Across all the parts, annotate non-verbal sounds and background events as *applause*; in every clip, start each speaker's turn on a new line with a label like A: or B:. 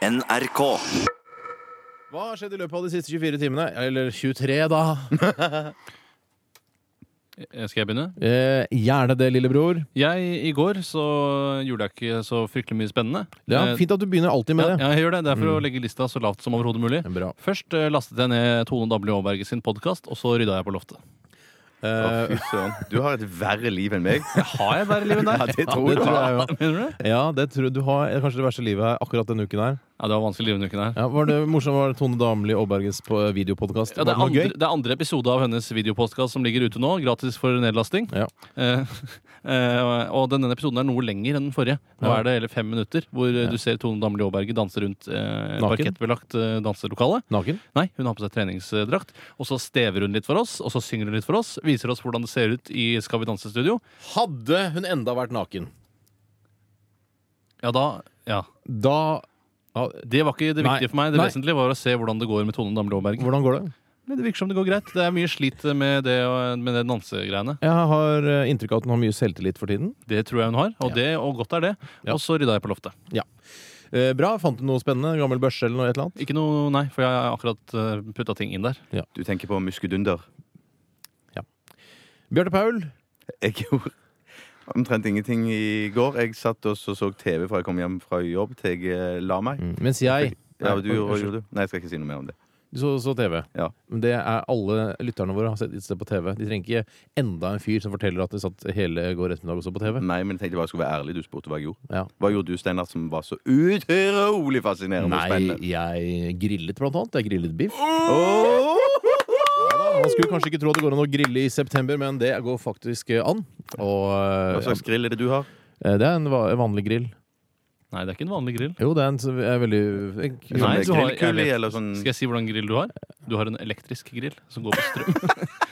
A: NRK.
B: Hva har skjedd i løpet av de siste 24 timene? Eller 23, da.
C: Eh, Skal jeg begynne?
B: Eh, gjerne det, lillebror.
C: Jeg, I går så gjorde jeg ikke så fryktelig mye spennende.
B: Ja,
C: Eh,
B: fint at du begynner alltid med
C: ja,
B: det. Mm.
C: ja, jeg gjør det. Det er for å legge lista så lavt som overhodet mulig.
B: Bra.
C: Først eh, lastet jeg ned Tone Damli Aaberge sin podkast, og så rydda jeg på loftet.
B: Eh,
D: Fy søren. Du har et verre liv enn meg.
C: Har jeg bare livet
D: Ja,
C: der?
D: det tror
B: det
D: jeg.
B: tror jeg jo.
C: Mener du det?
B: Ja, det tror jeg du har kanskje det verste livet her akkurat denne uken her.
C: Ja, det var vanskelig livet denne uken her.
B: Ja, var det morsomt var det Tone Damli Aaberges på- videopodkast?
C: Ja, det, er
B: var
C: andre, det er andre episode av hennes videopodkast som ligger ute nå, gratis for nedlasting.
B: Ja.
C: Eh, *laughs* eh, og denne episoden er noe lenger enn den forrige. Nå
B: Ja.
C: er det hele fem minutter hvor eh, du ser Tone Damli Aaberge danse rundt eh, et
B: Naken?
C: parkettbelagt eh, danselokale.
B: Naken?
C: Nei, hun har på seg treningsdrakt. Og så stever hun litt for oss, og så synger hun litt for oss. Viser oss hvordan det ser ut i Skal vi danse-studio.
B: Hadde hun enda vært naken,
C: Ja, da Ja.
B: da ja,
C: Det var ikke det
B: Nei.
C: viktige for meg. Det
B: Nei.
C: vesentlige var å se hvordan det går med Tone Damli Aaberge.
B: Hvordan går det?
C: Men Det virker som det går greit. Det er mye slit med det, eh, med det dansegreiene.
B: Jeg har eh, inntrykk av at hun har mye selvtillit for tiden.
C: Det tror jeg hun har, og,
B: Ja.
C: det, og godt er det.
B: Ja.
C: Og så rydda jeg på loftet.
B: Eh, bra. Fant du noe spennende? Gammel børse eller noe? Et eller annet?
C: Ikke noe, nei, for jeg har akkurat putta ting inn der.
D: Du tenker på muskedunder.
B: Bjarte Paul,
D: Jeg gjorde omtrent ingenting i går. Jeg satt og så, så TV fra jeg kom hjem fra jobb til jeg eh, la meg.
B: mens jeg
D: Ja,
B: Mm. Nei,
D: du, hva
B: unnskyld.
D: gjorde du? Nei, jeg skal ikke si noe mer om det.
B: Du så, så TV.
D: Ja.
B: Men det er alle lytterne våre har sett et sted på TV. De trenger ikke enda en fyr som forteller at de satt hele går ettermiddag og så på TV.
D: Nei, men jeg tenkte bare jeg skulle være ærlig. Du spurte hva jeg gjorde.
B: Ja.
D: Hva gjorde du, Steinar, som var så utrolig fascinerende og
B: Nei,
D: spennende?
B: jeg grillet blant annet. Jeg grillet biff.
D: Åh!
B: Man skulle kanskje ikke tro at det går an å grille i september, men det går faktisk eh, an. Og
D: Hva
B: eh,
D: slags grill er det du har?
B: eh, det er en va- vanlig grill.
C: Nei, det er ikke en vanlig grill.
B: Jo, det er en som er veldig en,
D: Sånn
C: Nei,
D: med
C: du har- jeg
D: grillkule
C: vet.
D: eller sånn
C: Skal jeg si hvordan grill du har? Du har en elektrisk grill som går på
B: *laughs*
C: strøm.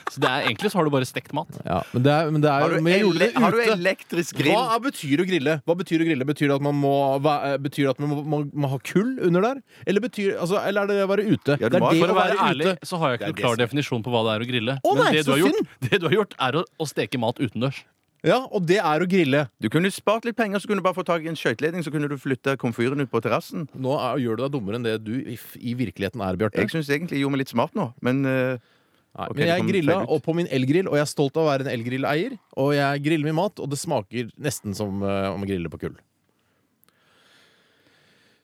C: så det er, egentlig så har du bare stekt mat.
B: ja, men det er, men det er
D: har, du
B: men jeg gjorde
D: ele-
B: det
D: har du
B: ute.
D: elektrisk grill?
B: Hva er, betyr å grille? Hva betyr å grille? Betyr det at man må, væ- eh, betyr det at man må, må, må ha kull under der? Eller, betyr, altså, eller er det å være ute?
D: Ja, du
B: det er
D: må ha-
B: det å
C: For å være
B: være
C: ærlig
B: ute.
C: så har jeg ikke
D: Det er
C: noen klar
D: det
C: definisjon på hva det er å grille.
B: Å nei,
C: det,
B: så
C: du har gjort,
B: synd!
C: det du har gjort, er å, å steke mat utendørs.
B: Ja, og det er å grille.
D: Du kunne spart litt penger, så kunne du bare få tak i en skøyteledning, så kunne du flytte komfyren ut på terrassen.
B: Nå er, gjør du deg dummere enn det du i, f- i virkeligheten er, Bjarte.
D: Jeg syns egentlig jeg gjorde meg litt smart nå, men eh,
B: Nei,
D: Ok,
B: men
D: det
B: jeg
D: kom
B: grilla
D: feil ut.
B: og på min elgrill, og jeg er stolt av å være en elgrilleier. Og jeg griller min mat, og det smaker nesten som eh, om å grille på kull.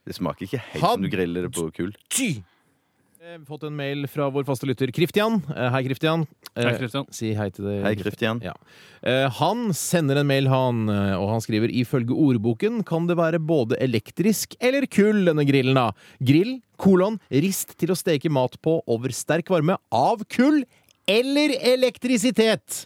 D: det smaker ikke helt
B: Ha-
D: som du griller det på kull.
B: Ty! Eh, Fått en mail fra vår faste lytter Kristian. Eh, Hei, Kristian.
C: Hei, Christian.
B: Si hei til deg.
D: Hei, Kristian.
B: Ja. Eh, Han sender en mail, han, eh, og han skriver ifølge ordboken kan det være både elektrisk eller kull, denne grillen, da. Grill, kolon, rist til å steke mat på over sterk varme av kull eller elektrisitet.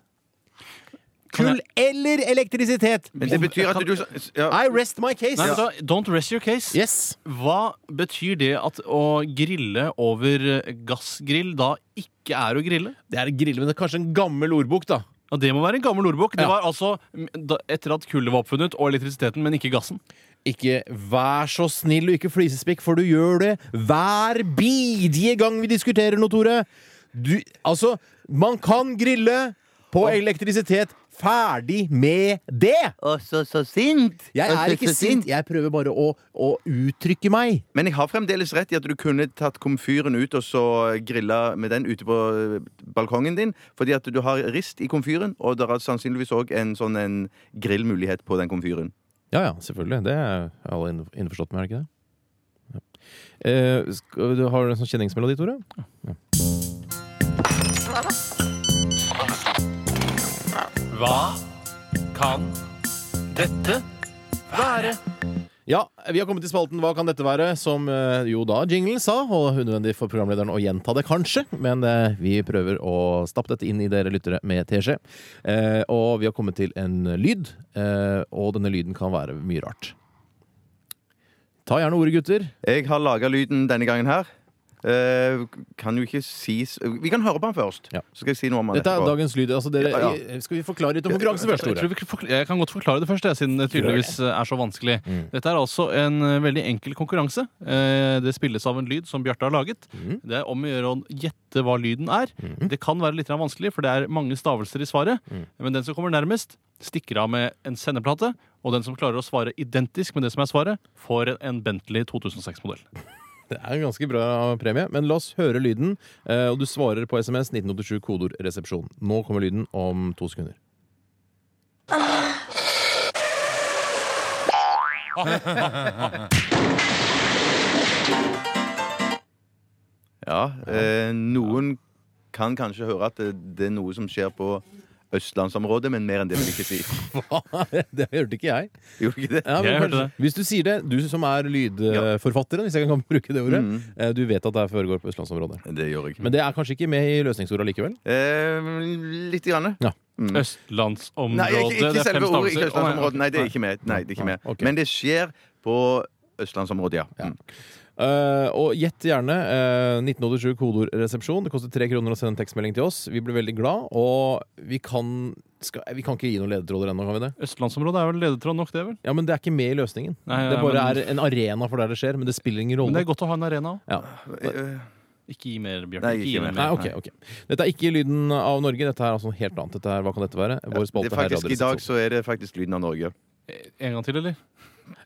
C: Kan
B: Kull eller elektrisitet!
D: Men det betyr at du ja,
B: I rest my case.
C: Nei, vet du hva? Don't rest your case.
B: Yes.
C: Hva betyr det at å grille over eh, gassgrill da ikke er å grille?
B: Det er grille, men det er kanskje en gammel ordbok, da.
C: Ja, Det må være en gammel ordbok. Det
B: Ja.
C: var altså mm, da, etter at kullet var oppfunnet, og elektrisiteten, men ikke gassen.
B: Ikke vær så snill og ikke flisespikk, for du gjør det hver bidige gang vi diskuterer noe, Tore. Du, altså, man kan grille på elektrisitet. Ferdig med det!
D: Og så så sint!
B: Jeg er ikke sint, jeg prøver bare å, å uttrykke meg.
D: Men jeg har fremdeles rett i at du kunne tatt komfyren ut og så grilla med den ute på eh, balkongen din, fordi at du har rist i komfyren, og det er sannsynligvis òg en sånn en grillmulighet på den komfyren.
B: Ja ja, selvfølgelig. Det er alle innf- innforstått med, er det ikke det? Ja. Eh, skal, du har du en sånn kjenningsmelodi, Tore?
C: Hva kan dette være?
B: Ja, vi har kommet til spalten Hva kan dette være? Som eh, jo da jinglen sa, og unødvendig for programlederen å gjenta det kanskje, men eh, vi prøver å stappe dette inn i dere lyttere med teskje. Eh, Og vi har kommet til en lyd, eh, og denne lyden kan være mye rart. Ta gjerne ordet, gutter.
D: Jeg har laga lyden denne gangen her. Eh, kan jo ikke sies Vi kan høre på den først.
B: Ja.
D: Så skal jeg si noe om den
B: Dette er
D: etterpå.
B: dagens lyd. Altså, dere,
D: Ja,
B: Skal vi forklare litt om konkurransen først,
C: Jeg, tror
B: Tore?
C: vi kan forkla- jeg kan godt forklare det først, jeg, siden det tydeligvis eh, er så vanskelig. Dette er altså en eh, veldig enkel konkurranse. Eh, Det spilles av en lyd som Bjarte har laget.
D: Mm.
C: Det er om å gjøre å gjette hva lyden er. Det kan være litt grann
D: Mm.
C: vanskelig, for det er mange stavelser i svaret. Men den som kommer nærmest, stikker av med en sendeplate. Og den som klarer å svare identisk med det som er svaret, får en- en Bentley 2006-modell.
B: *laughs* Det er en ganske bra premie, men la oss høre lyden. eh, Og du svarer på SMS 1987 kodeord resepsjon. Nå kommer lyden om to sekunder. *laughs*
D: Ja, eh, noen kan kanskje høre at det, det er noe som skjer på østlandsområdet, men mer enn det vil jeg ikke si. *laughs*
B: det hørte ikke jeg.
D: Gjorde ikke det?
B: Ja, men
C: Jeg hørte
B: kanskje, Hvis du sier det, du som er lydforfatteren, hvis jeg kan bruke det ordet,
C: Mm.
B: eh, du vet at det her foregår på østlandsområdet.
D: Det gjør jeg ikke.
B: Men det er kanskje ikke med i løsningsordet likevel?
D: Eh, litt. Grann.
C: Østlandsområdet.
D: Mm. Nei,
C: det
D: ikke, ikke
C: er fem
D: selve ordet. Ikke
C: stavelser. Å, nei,
D: østlandsområdet. Nei, det er
C: nei.
D: ikke med. Nei, det er ikke med.
B: Nei, ok.
D: Men det skjer på østlandsområdet, ja. Mm.
B: Eh, og gjett gjerne eh, 1987 kodeord resepsjon. Det koster tre kroner å sende en tekstmelding til oss. Vi blir veldig glad, og vi kan, skal, vi kan ikke gi noen ledetråder ennå, kan vi det?
C: Østlandsområdet er vel ledetråd nok, det, vel?
B: Ja, men det er ikke med i løsningen.
C: Nei,
B: det
C: nei,
B: bare
C: men-
B: er en arena for der det skjer, men det spiller ingen
C: Men det
B: rolle.
C: er godt å ha en arena òg.
B: Ja.
D: Eh,
C: Ikke gi mer, Bjarte.
D: Nei,
C: Ikke gi
D: ikke mer.
B: Nei,
C: mer.
B: ok, ok. Dette er ikke lyden av Norge. Dette er altså noe helt annet. Dette er, hva kan dette være? Vår
D: Det
B: spalte
D: er
B: her,
D: faktisk, I
B: Radioresepsjonen.
D: dag så er det faktisk lyden av Norge.
C: En gang til, eller?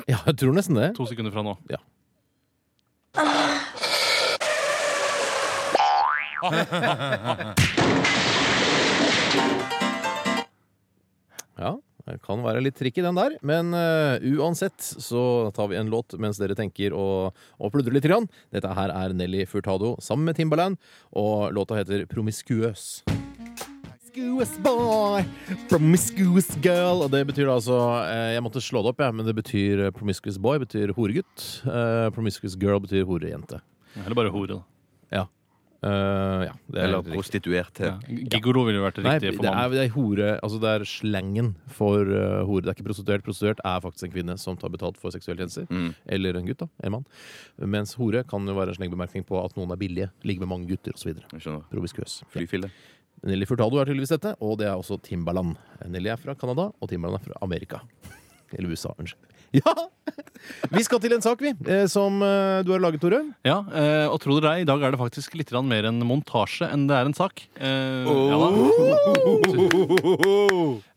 B: Ja, jeg tror nesten det.
C: To sekunder fra nå.
B: Ja. Ja, det kan være litt tricky den der, men eh, uansett så tar vi en låt mens dere tenker og, og pludrer litt. Grann. Dette her er Nelly Furtado sammen med Timbaland, og låta heter Promiscuous. Promiscuous boy, promiscuous girl. Og det betyr da altså eh, Jeg måtte slå det opp, jeg, men det betyr eh, promiscuous boy betyr horegutt. eh, Promiscuous girl betyr horejente.
C: Eller bare hore, da.
B: Ja. Eh, ja det er
D: Eller
B: helt riktig.
D: prostituert.
C: Ja. Gigolo ville jo vært det
B: Nei,
C: riktige
B: det
C: for
B: er,
C: mannen.
B: det er hore Altså det er slengen for eh, hore. Det er ikke prostituert. Prostituert er faktisk en kvinne som tar betalt for seksuelle tjenester.
D: Mm.
B: Eller en gutt, da. En mann. Mens hore kan jo være en slengbemerkning på at noen er billige, ligger med mange gutter osv.
D: Jeg skjønner.
B: Promiskuøs.
D: Flyfille.
B: Nelly Furtado er tydeligvis dette, og det er også Timbaland. Nelly er fra Canada, og Timbaland er fra Amerika. Eller USA, unnskyld. *laughs* Ja! Vi skal til en sak, vi, eh, som eh, du har laget, Tore.
C: Ja, eh, og tro det eller ei, i dag er det faktisk litt grann mer en montasje enn det er en sak. Eh, ja da.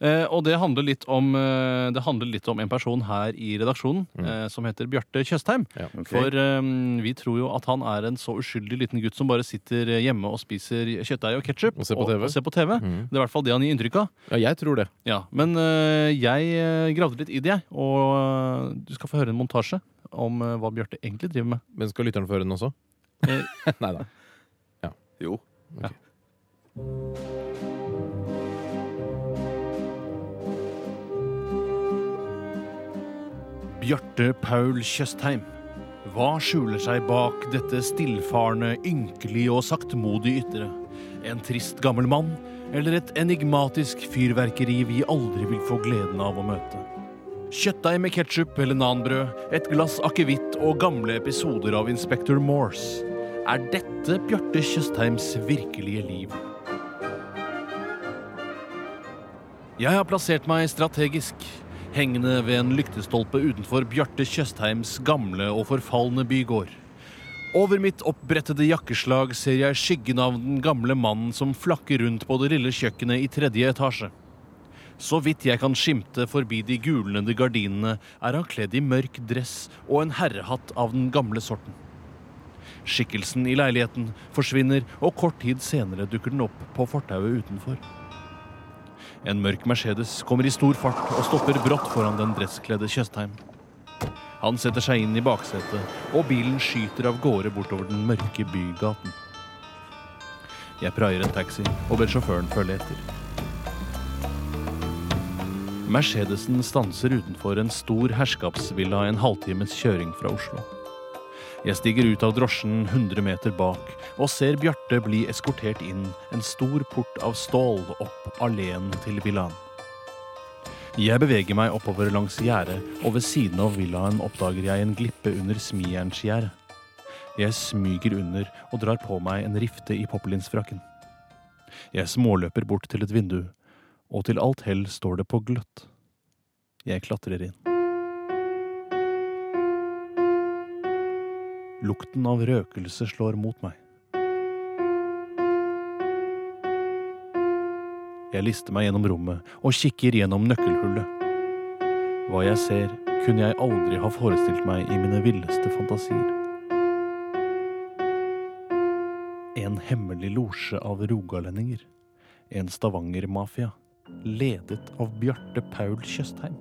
C: Eh, og det handler, litt om, eh, det handler litt om en person her i redaksjonen
B: Mm.
C: eh, som heter Bjarte Tjøstheim.
B: Ja.
D: Ok.
C: For eh, vi tror jo at han er en så uskyldig liten gutt som bare sitter hjemme og spiser kjøttdeig og ketsjup.
B: Og ser på Mm. TV.
C: Og, ser på TV. Det er i hvert fall det han gir inntrykk av.
B: Ja, jeg tror det.
C: Ja, Men eh, jeg eh, gravde litt i det, jeg. Og eh, du skal få høre en montasje om eh, hva Bjarte egentlig driver med.
B: Men skal lytteren få høre den også?
C: Eh,
B: *laughs* Nei da.
D: Jo.
C: Bjarte Paul Tjøstheim. Hva skjuler seg bak dette stillfarne, ynkelige og saktmodige ytre? En trist gammel mann, eller et enigmatisk fyrverkeri vi aldri vil få gleden av å møte? Kjøttdeig med ketsjup eller nanbrød, et glass akevitt og gamle episoder av Inspector Morse. Er dette Bjarte Tjøstheims virkelige liv? Jeg har plassert meg strategisk, hengende ved en lyktestolpe utenfor Bjarte Tjøstheims gamle og forfalne bygård. Over mitt oppbrettede jakkeslag ser jeg skyggen av den gamle mannen som flakker rundt på det lille kjøkkenet i tredje etasje. Så vidt jeg kan skimte forbi de gulnede gardinene, er han kledd i mørk dress og en herrehatt av den gamle sorten. Skikkelsen i leiligheten forsvinner, og kort tid senere dukker den opp på fortauet utenfor. En mørk Mercedes kommer i stor fart og stopper brått foran den dresskledde Tjøstheim. Han setter seg inn i baksetet, og bilen skyter av gårde bortover den mørke bygaten. Jeg praier en taxi og ber sjåføren følge etter. Mercedesen stanser utenfor en stor herskapsvilla en halvtimes kjøring fra Oslo. Jeg stiger ut av drosjen 100 meter bak og ser Bjarte bli eskortert inn en stor port av stål opp alleen til villaen. Jeg beveger meg oppover langs gjerdet, og ved siden av villaen oppdager jeg en glippe under smijernsgjerdet. Jeg smyger under og drar på meg en rifte i poppelinsfrakken. Jeg småløper bort til et vindu, og til alt hell står det på gløtt. Jeg klatrer inn. Lukten av røkelse slår mot meg. Jeg lister meg gjennom rommet og kikker gjennom nøkkelhullet. Hva jeg ser, kunne jeg aldri ha forestilt meg i mine villeste fantasier. En hemmelig losje av rogalendinger. En stavangermafia. Ledet av Bjarte Paul Tjøstheim.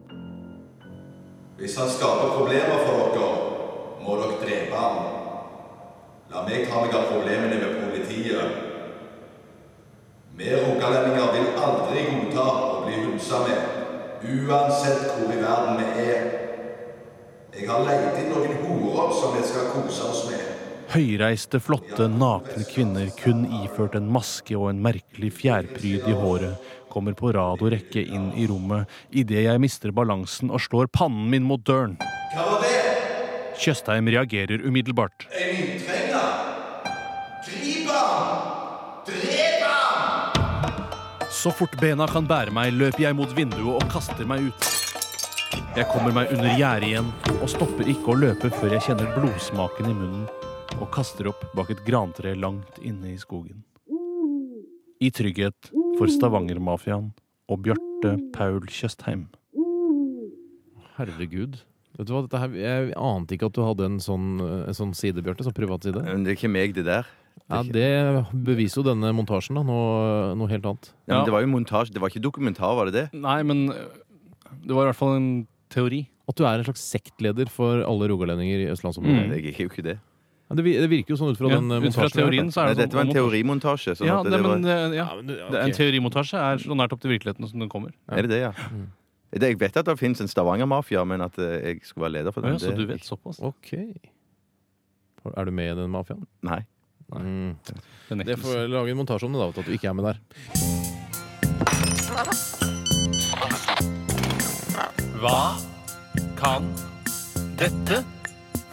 A: Hvis han skaper problemer for dere, må dere drepe ham. La meg ta meg av problemene med politiet. Vi rogalendinger vil aldri godta å bli hunsa med, uansett hvor i verden vi er. Jeg har leid inn noen horer som vi skal kose oss med.
C: Høyreiste, flotte, nakne kvinner, kun iført en maske og en merkelig fjærpryd i håret, kommer på rad og rekke inn i rommet idet jeg mister balansen og slår pannen min mot døren.
A: Hva var det?
C: Tjøstheim reagerer umiddelbart.
A: En inntrenger? Grip ham! Drep ham!
C: Så fort bena kan bære meg, løper jeg mot vinduet og kaster meg ut. Jeg kommer meg under gjerdet igjen og stopper ikke å løpe før jeg kjenner blodsmaken i munnen og kaster opp bak et grantre langt inne i skogen. I trygghet for Stavanger-mafiaen og Bjarte Paul Tjøstheim.
B: Herregud. Vet du hva, dette her, Jeg ante ikke at du hadde en sånn, en sånn side, Bjarte. Sånn privat side.
D: Men det er ikke meg, det der.
B: Ja, Det beviser jo denne montasjen. da, Noe, noe helt annet.
D: Ja, men
C: Ja.
D: Det var jo montasje, det var ikke dokumentar, var det det?
C: Nei, men det var i hvert fall en teori.
B: At du er en slags sektleder for alle rogalendinger i
C: Mm.
B: østlandsområdet.
D: Jeg er jo ikke det.
B: Ja, det, vi- det virker jo sånn ut fra
C: Ja,
B: den eh,
C: ut fra
B: montasjen. jeg
C: teorien
B: hørte.
C: så
D: Nei,
C: er det sånn
D: dette var en teorimontasje. Sånn
C: Ja,
D: at
C: nei,
D: det var,
C: men, eh, ja.
B: Ja, men, ja,
C: Det er En
B: ok.
C: teorimontasje er så nært opp til virkeligheten som den kommer.
D: er det det, ja?
C: Mm.
D: Det, jeg vet at det fins en Stavanger-mafia, men at eh, jeg skulle være leder for
C: Å
D: den
C: Ja, så
D: det-
C: du vet såpass.
B: Ok. Er du med i den mafiaen?
D: Nei. *laughs*
B: Mm.
C: Det
B: Det
C: nektes.
B: får jeg lage en montasje om det, da, vet du, at du ikke er med der.
C: Hva kan dette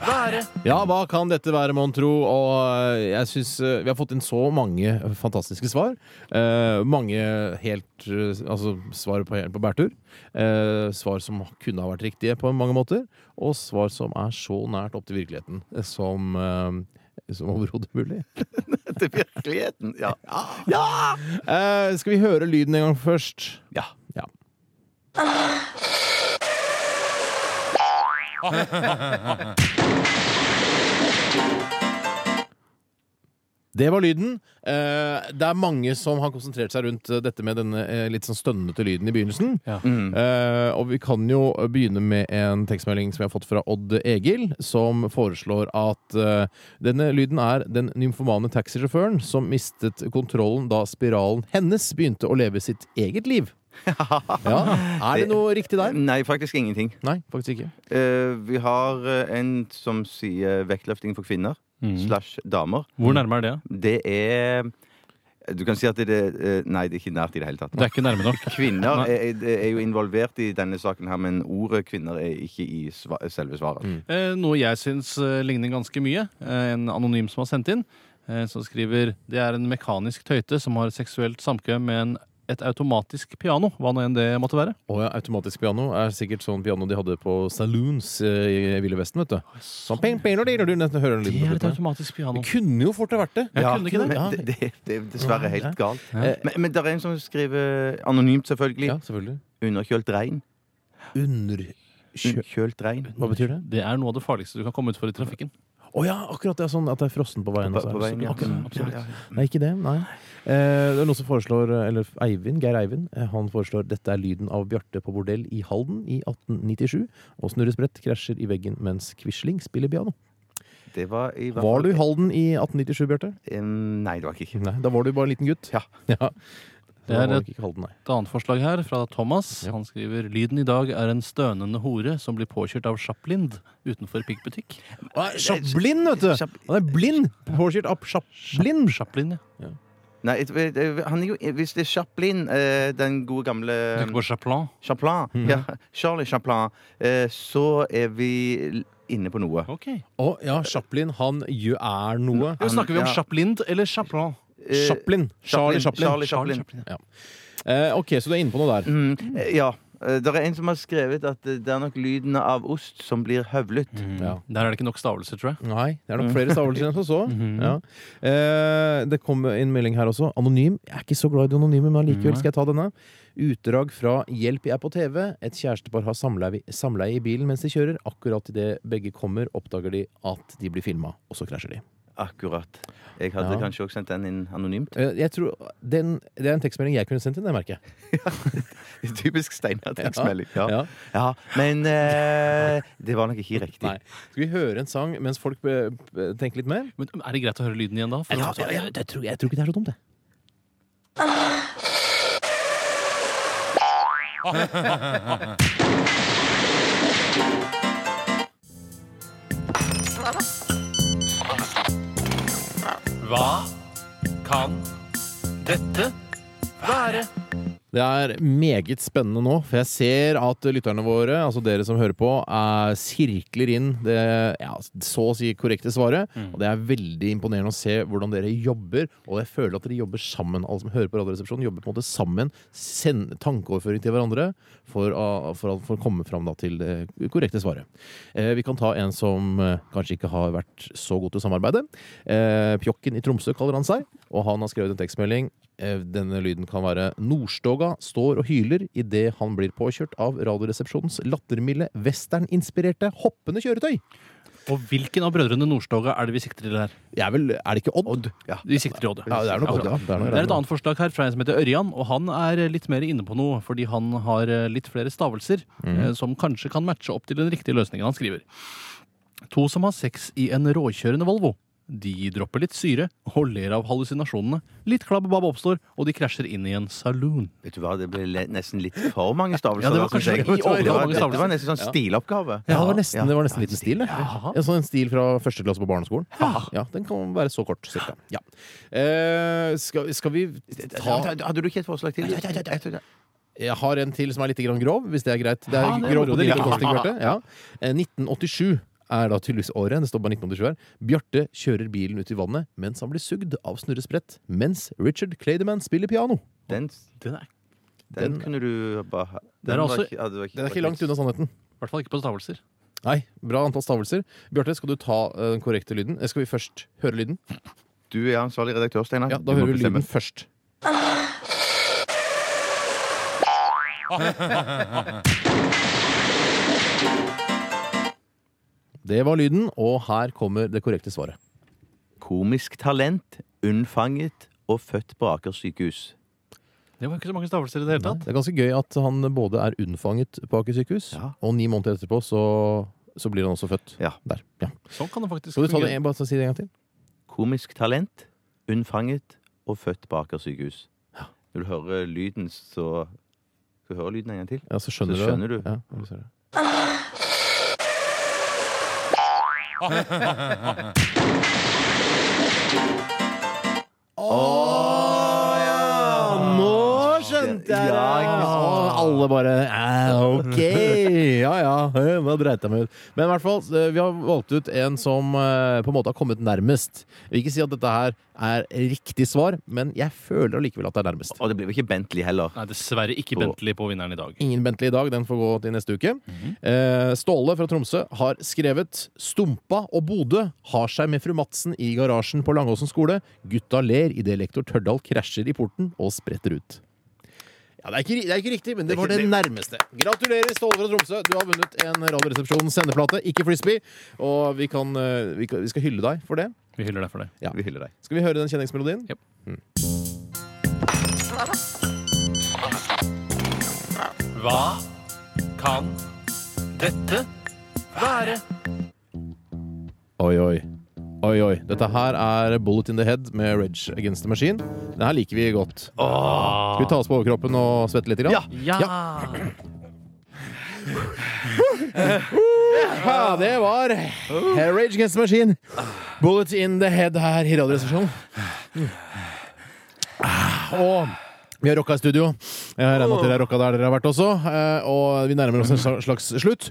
C: være?
B: Ja, hva kan dette være, mon tro? Og eh, jeg synes eh, vi har fått inn så mange fantastiske svar. Eh, mange helt eh, Altså svar på, på bærtur. Eh, svar som kunne ha vært riktige på mange måter. Og svar som er så nært opp til virkeligheten eh, som eh, som overhodet mulig.
D: Til virkeligheten. Ja. ja!
B: Eh, skal vi høre lyden en gang først?
D: ja.
B: Ja. Det var lyden. Eh, det er mange som har konsentrert seg rundt eh, dette med denne eh, litt sånn stønnete lyden i begynnelsen.
C: Ja.
B: Eh, og vi kan jo begynne med en tekstmelding som jeg har fått fra Odd Egil, som foreslår at eh, denne lyden er den nymfomane taxisjåføren som mistet kontrollen da spiralen hennes begynte å leve sitt eget liv. Ja. Er det noe riktig der?
D: Nei, faktisk ingenting.
B: Nei, faktisk ikke.
D: Eh, vi har eh, en som sier vektløfting for kvinner
B: Mhm.
D: slash damer.
C: Mm. Hvor nærme er det?
D: Det er Du kan si at det er eh, Nei, det er ikke nært i det hele tatt.
C: Det er ikke nærme nok.
D: Kvinner
C: Nei.
D: er, er- er jo involvert i denne saken her, men ordet kvinner er ikke i sva selve svaret.
C: Eh, noe jeg syns eh, ligner ganske mye. Eh, en anonym som har sendt inn, eh, som skriver det er en mekanisk tøyte som har seksuelt samkvem med en, et automatisk piano. Hva nå enn det måtte være.
B: Og ja, automatisk piano er sikkert sånn piano de hadde på saloons eh, i Ville Vesten, vet du. Sånn ping, ping, og du nesten hører den
C: Det
B: lyden på
C: er et
B: slutten.
C: automatisk piano.
B: Det kunne jo fort ha vært det.
C: Jeg kunne ikke det.
B: Ja.
D: Men det, det, det er dessverre helt galt.
B: Ja.
D: Men, men det er en som skriver anonymt, selvfølgelig.
B: Ja, selvfølgelig.
D: Underkjølt regn.
B: Underkjø...
D: Underkjølt regn.
B: Hva betyr det?
C: Det er noe av det farligste du kan komme ut for i trafikken.
B: Å ja, akkurat det er sånn at det er frossen på veien.
D: På,
B: også, er
D: på
B: det
D: veien, ja. Mm,
B: sånn? Akkurat.
D: Absolutt.
B: Nei, ikke det. Nei. Eh, det er noen som foreslår, eller Eivind, Geir Eivind, eh, han foreslår 'Dette er lyden av Bjarte på bordell i Halden i 1897', og Snurre Sprett krasjer i veggen mens Quisling spiller piano.
D: Det var i hvert
B: Var du
D: fall-
B: i Halden i 1897, Bjarte?
D: Eh, Nei, det var ikke
B: Nei, da var du bare en liten gutt.
D: Ja.
B: ja.
C: Det
B: Det
C: er
B: var nok ikke Halden, nei.
C: Et annet forslag her fra Thomas.
B: Ja.
C: Han skriver lyden i dag er en stønende hore som blir påkjørt av Chaplind utenfor piggbutikk.
B: Å, Chaplin, vet du!
D: Chap-
B: Han er blind! Påkjørt av Chaplin.
C: Chaplin, ja.
D: Nei, et- et- et- han er jo, hvis det er Chaplin, eh, den gode gamle
C: Det går Chaplin.
D: Chaplin, ja, Charlie Chaplin, eh, så er vi inne på noe.
C: Ok.
B: Å ja, Chaplin, han gjør er noe.
C: Ja, snakker vi om
D: ja.
C: Chaplind eller Chaplin?
D: Eh,
B: Chaplin. Charlie Chaplin.
D: Charlie Chaplin.
B: Eh, ok, så du er inne på noe der.
D: Mm, eh, ja. Eh, Det er en som har skrevet at eh, det er nok lyden av ost som blir høvlet.
B: Ja.
C: Der er det ikke nok stavelser, tror jeg.
B: Nei, det er nok flere stavelser enn som så. *laughs* ja. eh, det kom en melding her også. Anonym. Jeg er ikke så glad i de anonyme, men allikevel skal jeg ta denne. Utdrag fra Hjelp, jeg er på TV. Et kjærestepar har samleie, samleie i bilen mens de kjører. Akkurat idet begge kommer, oppdager de at de blir filma, og så krasjer de.
D: Akkurat. Jeg hadde
B: Ja.
D: kanskje også sendt den inn
B: *laughs*
D: anonymt.
B: Eh, Jeg tror, den, Det er en tekstmelding jeg kunne sendt inn, det merker jeg.
D: Typisk Steinar tekstmelding. Ja. Ja.
B: Ja.
D: men eh, det var nok ikke riktig.
B: Nei. Skal vi høre en sang mens folk eh, tenker litt mer?
C: Men er det greit å høre lyden igjen da? For å-
B: jeg, tror, jeg tror ikke det er så dumt, det.
C: Hva kan dette være?
B: Det er meget spennende nå, for jeg ser at lytterne våre, altså dere som hører på, er, sirkler inn det ja, så å si korrekte svaret. Og det er veldig imponerende å se hvordan dere jobber, og jeg føler at dere jobber sammen. Alle som hører på Radioresepsjonen, jobber på en måte sammen. Send tankeoverføring til hverandre for, å- for, å- for å komme fram da til det korrekte svaret. Eh, vi kan ta en som eh, kanskje ikke har vært så god til å samarbeide. Eh, Pjokken i Tromsø kaller han seg, og han har skrevet en tekstmelding. Eh, Denne lyden kan være Nordstoga står og hyler idet han blir påkjørt av Radioresepsjonens lattermilde, westerninspirerte, hoppende kjøretøy.
C: Og hvilken av brødrene Nordstoga er det vi sikter til her?
B: Det er vel Er det ikke Odd? Ja.
C: Vi sikter til Odd.
B: Ja, det er nok Odd, ja. Det er nok
C: Det er et annet forslag her fra en som heter Ørjan, og han er litt mer inne på noe, fordi han har eh, litt flere stavelser
B: Mhm.
C: eh, som kanskje kan matche opp til den riktige løsningen han skriver. To som har sex i en råkjørende Volvo. De dropper litt syre og ler av hallusinasjonene. Litt klabbebab oppstår, og de krasjer inn i en saloon.
D: Vet du hva, Det ble le- nesten litt for mange
C: Ja,
D: stavelser.
C: det var
D: da, synes
C: kanskje
D: jeg.
C: litt for
D: Det var-
C: mange
D: Dette var
C: stavelser.
D: nesten sånn
B: Ja.
D: stiloppgave.
B: Ja, det var nesten, det var nesten liten stil. det.
C: Ja.
B: En sånn stil fra første klasse på barneskolen. Ja, Den kan være så kort, cirka. Ja. Eh, skal, skal vi ta
D: Hadde du ikke et forslag til?
B: Jeg har en til som er litt grann grov, hvis det er greit. Det er
C: Ja, det er
B: grovere
C: på
B: enn
C: det
B: like
C: litt.
B: konstig, Bjarte. Ja. Eh, 1987 er da tydeligvis året. Det står bare 1987 her. Bjarte kjører bilen ut i vannet mens han blir sugd av Snorre Sprett, mens Richard Clayderman spiller piano.
D: Den,
C: Den er i
D: den
B: Den-
D: kunne du bare ha-
C: er
D: var
C: også-
D: ikke- hadde vært-
B: Den er ikke langt unna sannheten.
C: hvert fall ikke på stavelser.
B: Nei, bra antall stavelser. Bjarte, skal du ta eh, den korrekte lyden? Eh, Skal vi først høre lyden?
D: Du er ansvarlig redaktør, Steinar.
B: Ja,
D: Du
B: da
D: må
B: hører vi
D: bestemme.
B: lyden først. Det var lyden, og her kommer det korrekte svaret.
D: Komisk talent, unnfanget og født på Aker sykehus.
C: Det var ikke så mange stavelser i det hele tatt.
B: Det er ganske gøy at han både er unnfanget på Aker sykehus,
D: Ja.
B: og ni måneder etterpå så, så blir han også født
D: Ja.
B: der. Ja.
C: Sånn kan det faktisk
B: Skal du ta det
C: fungere.
B: en, bare si det en gang til?
D: Komisk talent, unnfanget og født på Aker sykehus. Når du hører lyden, så Skal du høre lyden en gang til?
B: Ja, så skjønner,
D: Så skjønner du.
B: Ja, jeg ser det.
C: Ah,
B: Nå skjønte jeg det!
D: Ja, ikke sant.
B: Og alle bare eh, OK! Ja ja, eh, nå dreit jeg meg ut. Men i hvert fall, eh, vi har valgt ut en som eh, på en måte har kommet nærmest. Jeg vil ikke si at dette her er riktig svar, men jeg føler allikevel at det er nærmest.
D: Og det blir vel ikke Bentley heller.
C: Nei, dessverre ikke Bentley på vinneren i dag.
B: Ingen Bentley i dag, den får gå til neste uke. eh, Ståle fra Tromsø har skrevet 'Stumpa og Bodø har seg med fru Madsen i garasjen på Langåsen skole'. Gutta ler idet lektor Tørdal krasjer i porten og spretter ut. Ja, det er, ikke, ri- det er ikke riktig, men det var det nærmeste. Gratulerer, Ståle fra Tromsø. Du har vunnet en Radioresepsjon sendeplate, ikke frisbee. Og vi, kan, eh, vi, kan, vi skal hylle deg for det.
C: Vi hyller deg for det.
B: Ja.
D: Vi hyller deg.
B: Skal vi høre den kjenningsmelodien?
C: Japp.
B: Mm.
C: Hva kan dette være?
B: Oi, oi. Oi, oi. Dette her er Bullet in the Head med Rage Against the Machine. Den her liker vi godt. Skal vi ta oss på overkroppen og svette litt? Grann?
C: Ja!
B: Ja, det var Rage Against the Machine. Bullet in the Head her i Radioresepsjonen. Ah, Og vi har rocka i studio. Jeg regner med at dere har rocka der dere har vært også. eh, Og vi nærmer oss en sla- slags slutt.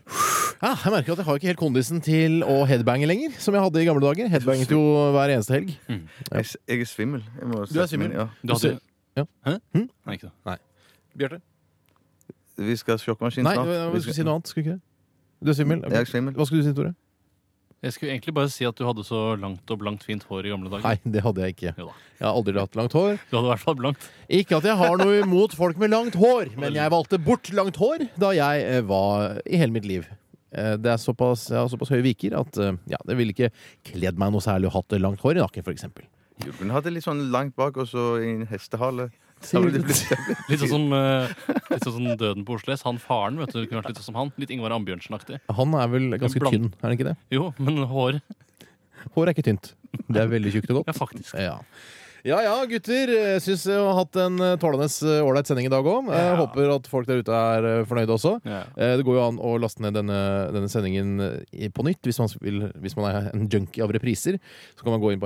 B: Ja, jeg merker at jeg har ikke helt kondisen til å headbange lenger, som jeg hadde i gamle dager. Headbanget jo hver eneste helg.
D: Jeg, jeg er svimmel. Jeg må sette meg
B: svimmel?
D: ned, Ja.
C: Du hadde...
B: Ja.
C: Hæ?
B: Hm?
C: Nei, ikke det.
B: Bjarte?
D: vi skal ha sjokkmaskin
B: Nei,
D: snart.
B: hva-
D: Vi
B: hva skulle si noe annet. Skulle ikke det? Du er svimmel?
D: Jeg er svimmel.
B: Hva skulle du si, Tore?
C: Jeg skulle egentlig bare si at du hadde så langt og blankt fint hår i gamle dager.
B: Nei, det hadde jeg ikke.
C: Jo da.
B: Jeg har aldri hatt langt hår.
C: Du hadde i hvert fall blankt.
B: Ikke at jeg har noe imot folk med langt hår, men jeg valgte bort langt hår da jeg eh, var i hele mitt liv. Eh, Det er såpass, jeg har såpass høye viker at eh, ja, det ville ikke kledd meg noe særlig å hatt langt hår i nakken, f.eks.
D: Hun hadde litt sånn langt bak og så i en hestehale. *laughs* Da ville det
B: *laughs*
D: blitt-
C: Litt sånn som, eh, litt sånn som Døden på Osles. Han faren, vet du. Det kunne vært litt sånn som han. Litt Ingvar Ambjørnsen-aktig.
B: Han er vel ganske
C: Blant-
B: tynn, er han ikke det?
C: Jo, men hår
B: Hår er ikke tynt. Det er veldig tjukt og
C: Ja,
B: godt.
C: faktisk.
B: Ja. Ja ja, gutter. Jeg Syns vi har hatt en eh, tålende eh, ålreit sending i dag òg.
C: Ja.
B: Håper at folk der ute er eh, fornøyde også.
C: Ja.
B: Eh, Det går jo an å laste ned denne, denne sendingen eh, i- på nytt hvis man, vil, hvis man er en junkie av repriser. Så kan man gå inn på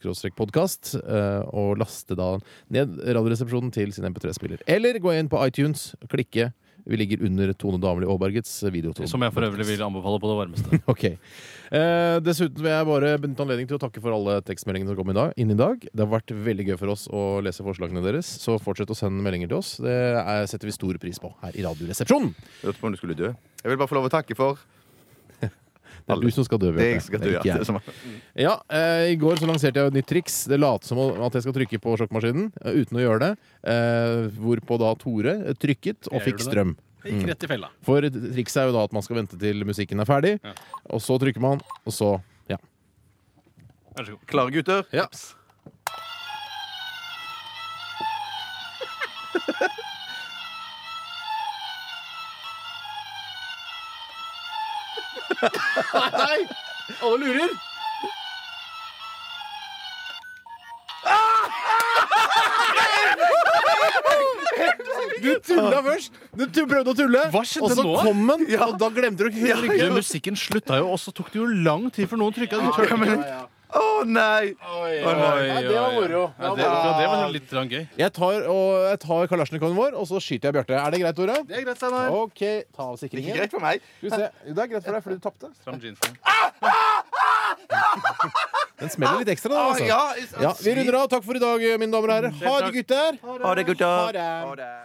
B: nrk.no-podkast eh, og laste da ned Radioresepsjonen til sin MP3-spiller. Eller gå inn på iTunes, klikke. Vi ligger under Tone Damli Aabergets eh, videotone.
C: Som jeg for øvrig vil anbefale på det varmeste.
B: Ok. Eh, dessuten vil jeg bare benytte anledning til å takke for alle tekstmeldingene som kom i dag, inn i dag. Det har vært veldig gøy for oss å lese forslagene deres, så fortsett å sende meldinger til oss. Det er, setter vi stor pris på her i Radioresepsjonen.
D: Lurte på om du skulle dø. Jeg vil bare få lov å takke for
B: Det er
D: Alle.
B: du som skal dø, Bjarte.
D: det jeg skal dø.
B: Det er
D: Ja.
B: ikke jeg.
D: Det er som-
B: Ja, eh, I går så lanserte jeg et nytt triks. Det later som at jeg skal trykke på sjokkmaskinen eh, uten å gjøre det. Eh, hvorpå da Tore eh, trykket og
C: Jeg
B: fikk
C: gjorde det.
B: strøm.
C: Gikk rett i fella.
B: For trikset er jo da at man skal vente til musikken er ferdig,
C: Ja.
B: og så trykker man, og så Ja.
C: Vær så god.
D: Klare gutter?
B: ja. Nei! Alle lurer! Du tulla først! Du tu- prøvde å tulle,
C: Hva skjedde
B: og så
C: nå?
B: kom den, og da glemte du å trykke.
C: Du, musikken slutta jo, og så tok det jo lang tid før noen trykka.
D: Ja, men- *laughs* Å nei!
B: Ja, det var moro. Det var
C: det,
B: moro.
C: det var litt grann gøy.
B: Jeg tar, og jeg tar kalasjnikoven vår, og så skyter jeg Bjarte. Er det greit, Tore?
D: Det er greit, Steinar.
B: OK, ta av
D: Det er ikke
B: sikringen.
D: greit for meg.
B: Skal vi se. Jo, Det er greit for deg, fordi du tapte.
C: Stram jeansene.
B: Den smeller litt ekstra, da.
D: Ah,
B: Altså.
D: ja, Mm,
B: Ja, vi runder av. Takk for i dag, mine damer og herrer. Ha det, gutter.
D: Ha det, gutter.
B: Ha det.
D: det.